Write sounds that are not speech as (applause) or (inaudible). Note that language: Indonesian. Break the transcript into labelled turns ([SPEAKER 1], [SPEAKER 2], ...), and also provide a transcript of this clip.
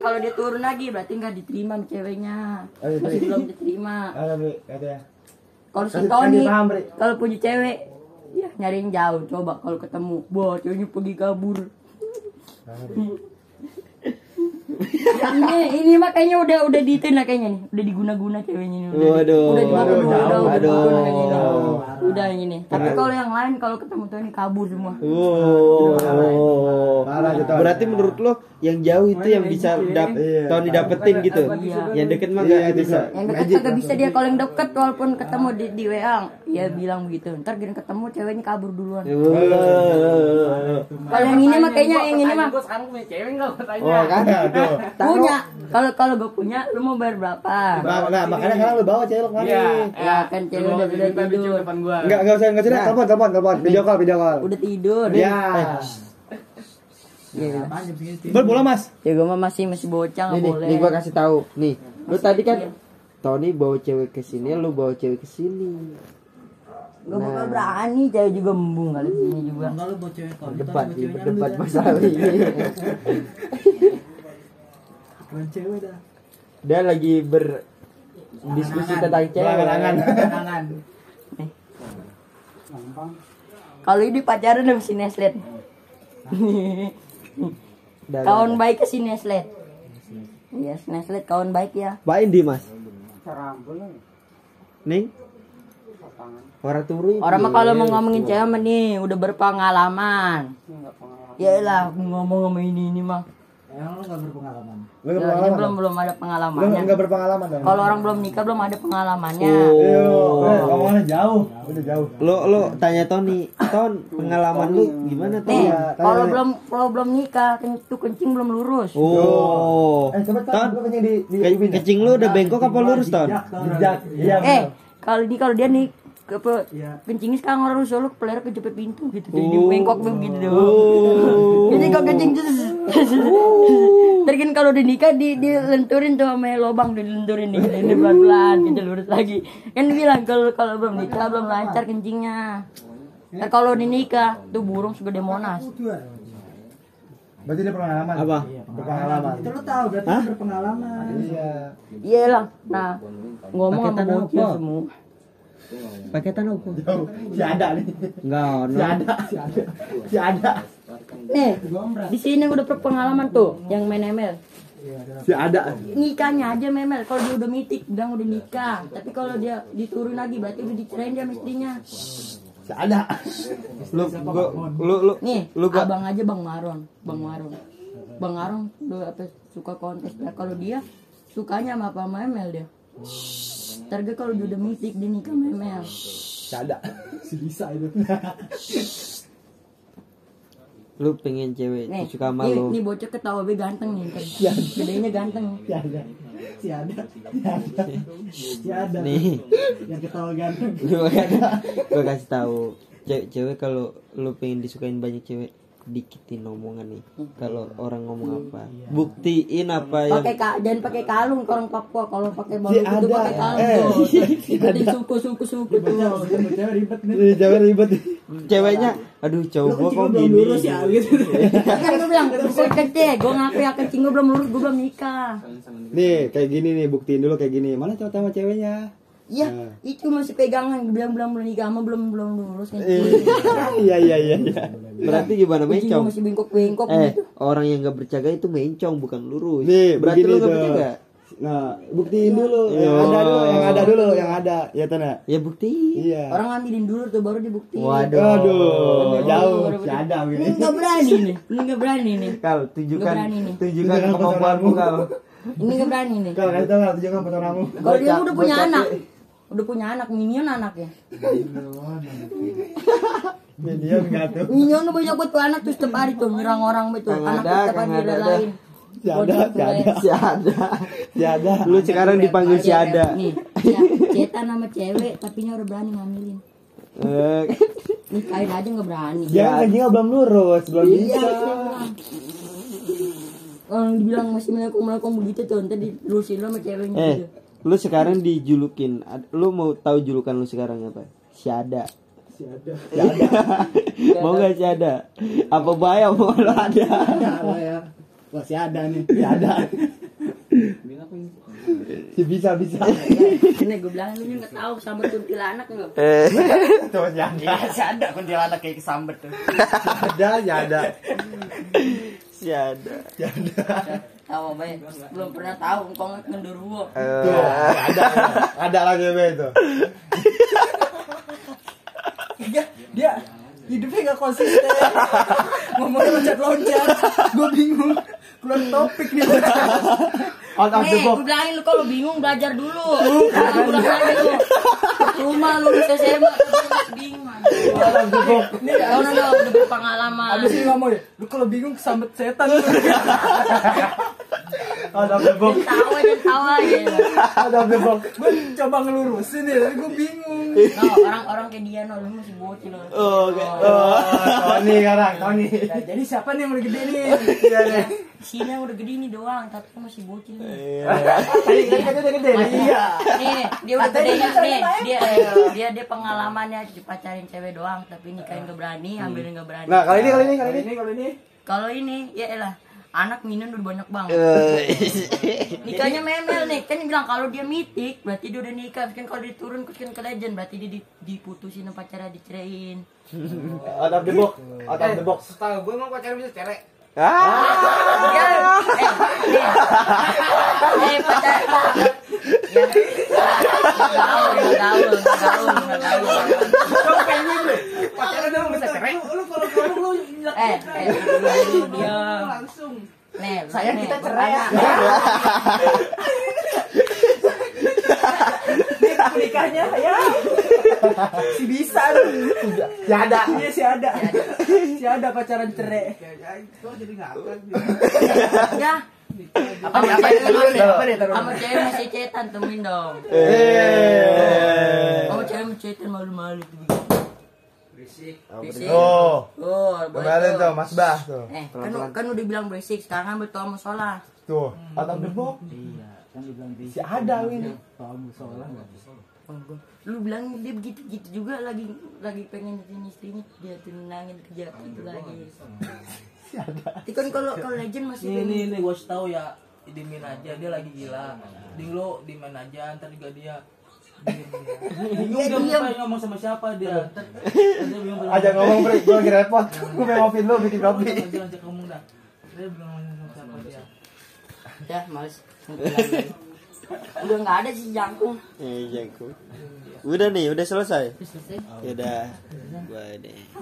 [SPEAKER 1] kalau dia turun lagi berarti nggak diterima sama ceweknya
[SPEAKER 2] Oh, iya,
[SPEAKER 1] masih
[SPEAKER 2] Bri.
[SPEAKER 1] belum diterima
[SPEAKER 2] Ada Bri, katanya.
[SPEAKER 1] kalau si
[SPEAKER 2] Kasih-
[SPEAKER 1] Tony
[SPEAKER 2] kasih paham, Bri.
[SPEAKER 1] kalau punya cewek ya nyari yang jauh coba kalau ketemu wah ceweknya pergi kabur
[SPEAKER 3] Iya.
[SPEAKER 1] Ya, ini ini makanya udah udah diitin lah kayaknya nih udah diguna-guna ceweknya ini udah di-
[SPEAKER 3] Waduh.
[SPEAKER 1] udah dibawa udah
[SPEAKER 3] Waduh,
[SPEAKER 1] udah
[SPEAKER 3] jauh,
[SPEAKER 1] udah diguna kayaknya ini.
[SPEAKER 3] jauh.
[SPEAKER 1] udah yang ini tapi kalau yang lain kalau ketemu Tony kabur semua
[SPEAKER 3] Wow.
[SPEAKER 2] Iya. Parah gitu.
[SPEAKER 3] Oh, Berarti menurut lo yang jauh itu yang bisa dap
[SPEAKER 2] Iya.
[SPEAKER 3] tahun didapetin gitu.
[SPEAKER 1] Iya.
[SPEAKER 3] Yang deket mah
[SPEAKER 2] Iya,
[SPEAKER 3] enggak
[SPEAKER 2] itu
[SPEAKER 3] bisa.
[SPEAKER 1] yang dekat kagak bisa dia kalau yang deket walaupun ketemu di, di WA ya bilang begitu ntar gini ketemu ceweknya kabur duluan
[SPEAKER 3] Iya. Wow.
[SPEAKER 1] kalau yang ini mah kayaknya yang ini mah
[SPEAKER 4] gue sekarang punya cewek nggak gue tanya
[SPEAKER 3] Oh kan?
[SPEAKER 2] Nah, tuh.
[SPEAKER 1] punya kalau kalau gue punya lu mau bayar berapa
[SPEAKER 2] Nah, nah, makanya sekarang lu bawa cewek kemana?
[SPEAKER 4] iya
[SPEAKER 1] Ya, kan cewek udah- udah tidur.
[SPEAKER 4] depan gue
[SPEAKER 2] Enggak, enggak usah, enggak usah.
[SPEAKER 3] Nah.
[SPEAKER 2] Telepon, telepon, telepon. Video call, video call.
[SPEAKER 1] udah tidur
[SPEAKER 2] Ya.
[SPEAKER 1] Iya, iya.
[SPEAKER 3] Bel bola Mas.
[SPEAKER 1] ya gue mah masih masih bocah nggak
[SPEAKER 3] Nih, nih,
[SPEAKER 1] boleh
[SPEAKER 3] nih gua kan. kasih tahu. Nih, lu tadi kan Tony bawa cewek ke sini, lu bawa cewek ke sini.
[SPEAKER 1] gue
[SPEAKER 3] Nah.
[SPEAKER 1] bakal berani cewek juga embung kali di sini juga
[SPEAKER 5] gitu.
[SPEAKER 3] Berdebat, nih, berdebat masalah ini. (laughs) Dia lagi berdiskusi tentang cewek.
[SPEAKER 1] kalau ini pacaran sama si Neslet
[SPEAKER 3] Dan-
[SPEAKER 1] (laughs) kawan baik ke si Neslet Iya, si Neslet kawan baik ya.
[SPEAKER 3] Bain di mas. Nih. Orang turu.
[SPEAKER 1] Orang mah kalau mau ngomongin cewek mah nih udah berpengalaman. Yaelah, ngomong sama ini ini mah.
[SPEAKER 2] Lu
[SPEAKER 1] Ya,
[SPEAKER 2] enggak
[SPEAKER 1] dia
[SPEAKER 2] berpengalaman.
[SPEAKER 1] belum belum ada
[SPEAKER 2] Lu
[SPEAKER 1] pengalamannya.
[SPEAKER 2] enggak berpengalaman dong.
[SPEAKER 1] Kalau orang belum nikah belum ada pengalamannya.
[SPEAKER 2] Ayo, eh,
[SPEAKER 3] Oh.
[SPEAKER 2] ngomongnya jauh. Udah jauh.
[SPEAKER 3] Lo lo tanya Tony. Ton pengalaman lu
[SPEAKER 1] Nih,
[SPEAKER 3] gimana Ton?
[SPEAKER 2] Iya, tanya
[SPEAKER 1] kalau
[SPEAKER 2] dulu.
[SPEAKER 1] belum kalau belum nikah, ken- tuh kencing belum lurus.
[SPEAKER 3] Oh.
[SPEAKER 2] Eh, coba
[SPEAKER 3] Ton.
[SPEAKER 2] tahan lu kencing di di
[SPEAKER 3] ke- Kencing lu udah bengkok apa lurus Ton?
[SPEAKER 2] jejak. Iya.
[SPEAKER 1] Eh, kalau di kalau dia nih ke apa, kencingnya sekarang orang rusuh lu kepleler kejepit pintu gitu jadi dia
[SPEAKER 3] Ya. Oh.
[SPEAKER 1] bengkok begitu
[SPEAKER 3] Oh.
[SPEAKER 1] (laughs) jadi kalau kencing terus kalau udah nikah di dilenturin tuh sama lobang dilenturin nih ini pelan pelan gitu lurus lagi kan bilang kalau kalau belum nikah belum lancar kencingnya Nah, kalau udah nikah tuh burung segede monas
[SPEAKER 2] Berarti dia pengalaman.
[SPEAKER 3] Apa?
[SPEAKER 2] Berpengalaman.
[SPEAKER 5] Itu lo tahu Oh, berarti lu berpengalaman.
[SPEAKER 2] Iya.
[SPEAKER 1] iyalah nah ngomong sama
[SPEAKER 3] Paketan
[SPEAKER 1] bocil
[SPEAKER 3] apa?
[SPEAKER 1] semua
[SPEAKER 3] Paketan apa?
[SPEAKER 2] Jauh. Si ada nih.
[SPEAKER 3] Enggak,
[SPEAKER 2] Si
[SPEAKER 3] ono.
[SPEAKER 2] ada. Si ada. Si ada.
[SPEAKER 1] nih Eh, di sini udah berpengalaman tuh yang main ML
[SPEAKER 2] Si ada.
[SPEAKER 1] nikahnya aja memel kalau dia udah mitik bilang udah nikah tapi kalau dia diturun lagi berarti udah dicerain dia mestinya
[SPEAKER 2] Si ada.
[SPEAKER 3] Lu gua lu lu
[SPEAKER 1] nih
[SPEAKER 3] lu gak
[SPEAKER 1] abang aja bang Maron bang Maron bang Maron lu apa suka kontes nah, kalau dia sukanya sama apa sama memel dia Target kalau dia udah mitik dia nikah memel
[SPEAKER 2] Si ada. Si Lisa (laughs) itu.
[SPEAKER 3] lu pengen cewek
[SPEAKER 1] nih
[SPEAKER 3] suka sama
[SPEAKER 1] nih,
[SPEAKER 3] lu. Iya.
[SPEAKER 1] nih bocah ketawa be ganteng nih ntar. gedenya ganteng
[SPEAKER 2] Si ada.
[SPEAKER 5] Si ada. Si ada. Si ada.
[SPEAKER 3] Nih.
[SPEAKER 5] Yang ketawa ganteng.
[SPEAKER 3] Gua gua kasih tahu cewek cewek kalau lu pengen disukain banyak cewek dikitin omongan nih kalau orang ngomong apa buktiin apa yang
[SPEAKER 1] pakai ka jangan pakai kalung kalau orang Papua kalau pakai bolu itu
[SPEAKER 2] ada.
[SPEAKER 1] pakai kalung Iya,
[SPEAKER 2] Eh,
[SPEAKER 1] tuh ikutin Iya, suku suku suku
[SPEAKER 5] Ya,
[SPEAKER 1] tuh
[SPEAKER 5] maksudnya bocah ribet nih.
[SPEAKER 2] Ih, Cewek ribet.
[SPEAKER 3] ceweknya aduh cowok gua kok
[SPEAKER 5] Belum
[SPEAKER 3] gini
[SPEAKER 5] lurus ya gitu. (laughs)
[SPEAKER 1] kan gue bilang gue kece gue ngaku ya kencing gue belum lurus gue belum nikah
[SPEAKER 2] Nih, kayak gini nih, buktiin dulu kayak gini. Mana cowok sama ceweknya? (laughs)
[SPEAKER 1] iya
[SPEAKER 2] Nah.
[SPEAKER 1] itu masih pegangan gue bilang belum belum nikah sama belum belum kan. lurus kencing
[SPEAKER 2] Iya, iya, iya, iya.
[SPEAKER 3] berarti gimana
[SPEAKER 1] kencing gue
[SPEAKER 3] mencong
[SPEAKER 1] masih bengkok bengkok
[SPEAKER 3] eh
[SPEAKER 1] gitu
[SPEAKER 3] orang yang gak berjaga itu mencong bukan lurus
[SPEAKER 2] Nih,
[SPEAKER 3] berarti lu
[SPEAKER 2] begini
[SPEAKER 3] gak
[SPEAKER 2] tuh.
[SPEAKER 3] berjaga
[SPEAKER 2] Nah, buktiin dulu yang
[SPEAKER 3] Iya.
[SPEAKER 2] ada dulu, yang ada dulu, yang ada. Ya, Tana.
[SPEAKER 3] ya buktiin
[SPEAKER 2] Iya.
[SPEAKER 1] orang ngambilin dulu tuh baru dibuktiin
[SPEAKER 3] waduh
[SPEAKER 2] Aduh, jauh.
[SPEAKER 1] Baru-
[SPEAKER 2] Si ada
[SPEAKER 1] Lu
[SPEAKER 2] begini.
[SPEAKER 1] nggak berani nih lu nggak berani nih
[SPEAKER 3] kal tunjukkan
[SPEAKER 1] berani nih.
[SPEAKER 3] tunjukkan kemampuanmu kal
[SPEAKER 1] ini nggak berani nih
[SPEAKER 2] Kalau kasih tahu lah tujuan pacaranmu.
[SPEAKER 1] kalau dia
[SPEAKER 3] Bocah-
[SPEAKER 1] udah punya
[SPEAKER 3] bocah-
[SPEAKER 1] anak udah punya anak ya. minion anaknya
[SPEAKER 2] Nih, dia enggak tuh.
[SPEAKER 1] minion udah banyak buat tuh anak tuh setiap hari tuh nyerang orang betul
[SPEAKER 3] Kang
[SPEAKER 1] anak
[SPEAKER 3] ada,
[SPEAKER 1] setiap
[SPEAKER 3] Kang
[SPEAKER 1] hari
[SPEAKER 3] ada,
[SPEAKER 1] dia
[SPEAKER 3] ada.
[SPEAKER 1] lain
[SPEAKER 2] Si ada, si ada.
[SPEAKER 3] (laughs) si ada
[SPEAKER 2] Si ada.
[SPEAKER 3] lu sekarang dipanggil si ada
[SPEAKER 1] nih ya, cetan sama cewek tapi udah berani ngambilin (laughs)
[SPEAKER 3] Eh,
[SPEAKER 1] nikahin aja nggak berani
[SPEAKER 2] Dia kan gajinya belum lurus, belum
[SPEAKER 1] Iya,
[SPEAKER 2] bisa.
[SPEAKER 1] Orang dibilang masih melengkung melengkung begitu tuh, ntar dilurusin lo sama ceweknya gitu.
[SPEAKER 3] Eh, lu sekarang dijulukin, ad- lu mau tahu julukan lu sekarang apa? Siada. (laughs) (laughs) Siada. mau gak siada? Apa bahaya mau lu ada?
[SPEAKER 5] Ada ya.
[SPEAKER 4] Masih ada nih, masih ada. Si bisa bisa.
[SPEAKER 1] Ini gue bilang lu nggak tahu sama kuntilanak lu.
[SPEAKER 3] Eh,
[SPEAKER 4] Tuh yang
[SPEAKER 5] Masih ada kuntilanak kan kayak kesambet tuh.
[SPEAKER 4] ada, ya ada.
[SPEAKER 3] si ada.
[SPEAKER 1] Tahu apa ya? Belum pernah tahu engkong ngendurwo.
[SPEAKER 3] Eh.
[SPEAKER 4] Tuh, ada. Ada lagi be itu.
[SPEAKER 5] Dia, dia Iya. hidupnya gak konsisten. Ngomongnya loncat-loncat. Gue bingung. Keluar topik nih.
[SPEAKER 4] Out of the
[SPEAKER 1] Nih,
[SPEAKER 4] box.
[SPEAKER 1] gue bilangin lu kalau bingung belajar dulu. Kalau lu belajar dulu. Cuma lu lulus SMA terus bingung.
[SPEAKER 4] Out of the box.
[SPEAKER 5] Nih,
[SPEAKER 1] Kau
[SPEAKER 5] abis,
[SPEAKER 1] udah udah berpengalaman.
[SPEAKER 5] abis ini ngomong ya. Lu kalau bingung kesambet setan. lu."
[SPEAKER 4] Out of the box.
[SPEAKER 1] Tahu aja tahu aja.
[SPEAKER 4] Out of the box.
[SPEAKER 5] Gue coba ngelurusin ya. Tapi gue bingung.
[SPEAKER 1] No, orang-orang kayak dia no, lu masih bocil lo.
[SPEAKER 3] Oh,
[SPEAKER 4] Oh, Tony sekarang, Tony.
[SPEAKER 5] Nah, jadi siapa nih yang lebih gede nih?
[SPEAKER 4] (laughs) Iya nih.
[SPEAKER 1] Sini yang udah gede ini doang, tapi lu masih bocil. Nih,
[SPEAKER 4] Tadi tadi katanya gede. Iya.
[SPEAKER 1] Nih, dia udah
[SPEAKER 5] Katanya
[SPEAKER 1] gede nih,
[SPEAKER 5] pacarnya naik.
[SPEAKER 1] dia dia dia pengalamannya pacarin cewek doang, tapi nikahin gak berani, ambilin gak berani.
[SPEAKER 4] Nah, kali ini kali ini kali
[SPEAKER 5] Kali
[SPEAKER 4] ini.
[SPEAKER 5] ini, kali ini.
[SPEAKER 1] Kalau ini ya elah anak minum udah banyak banget.
[SPEAKER 3] Eh.
[SPEAKER 1] Nikahnya memel nih, kan dia bilang kalau dia mitik berarti dia udah nikah, kan kalau dia turun kan ke legend berarti dia di- diputusin sama pacarnya diceraiin.
[SPEAKER 4] Out of the box. Out of the box.
[SPEAKER 6] Setahu gue emang pacaran bisa cerek.
[SPEAKER 3] Ah,
[SPEAKER 1] Ya, eh, eh, eh, pacar. Ya, nggak tahu, nggak tahu, nggak tahu, nggak tahu.
[SPEAKER 6] Pacaran emang bisa cerek.
[SPEAKER 5] Oh,
[SPEAKER 6] Lu kalau baru lu
[SPEAKER 1] Eh, eh, dulu, dulu, diam.
[SPEAKER 6] langsung.
[SPEAKER 1] Nih, saya kita
[SPEAKER 5] cerai. Nikahnya ya. Si bisa lu.
[SPEAKER 4] Si ada.
[SPEAKER 5] Iya si ada. Si ada pacaran cerai.
[SPEAKER 6] Ya, ya, itu jadi ngakak.
[SPEAKER 1] Ya,
[SPEAKER 5] Apa nih? Apa nih? Taruh nih, Apa nih? Taruh.
[SPEAKER 1] sama cewek masih cetan temuin dong.
[SPEAKER 4] Eh.
[SPEAKER 1] Kamu cewek mencetan malu-malu tuh
[SPEAKER 6] Berisik.
[SPEAKER 5] Eh.
[SPEAKER 1] Berisik.
[SPEAKER 4] Oh,
[SPEAKER 1] Oh, boleh
[SPEAKER 4] kemarin
[SPEAKER 1] tuh.
[SPEAKER 4] tuh Mas Bah tuh.
[SPEAKER 1] Eh, kan, kan udah bilang berisik, sekarang kan betul sama sholat.
[SPEAKER 4] Tuh, out of the box.
[SPEAKER 5] Iya, kan
[SPEAKER 4] Si ada ini.
[SPEAKER 1] Lu bilang dia begitu-gitu juga lagi lagi pengen nyatain istrinya, dia tunangin kerja itu lagi. Tapi kan kalau kalau legend masih
[SPEAKER 6] Nih
[SPEAKER 1] pengen
[SPEAKER 6] nih nih gue tahu ya dimin aja dia lagi gila. Ding lo dimin aja ntar juga dia
[SPEAKER 4] (laughs)
[SPEAKER 6] diem. bingung
[SPEAKER 1] diem.
[SPEAKER 6] dia mau pengen ngomong sama siapa dia. Ntar- ntar dia bingung bilang,
[SPEAKER 4] Ajak ngomong break, gue lagi repot. Gue pengen ngopi dulu bikin kopi.
[SPEAKER 6] "Ngomong aja, ajak ngomong dah. Dia bingung ngomong sama siapa dia.
[SPEAKER 1] ya males. udah nggak ada sih jangkung.
[SPEAKER 3] iya aku. Udah nih, udah selesai.
[SPEAKER 1] Terus selesai.
[SPEAKER 3] Udah. Gua deh.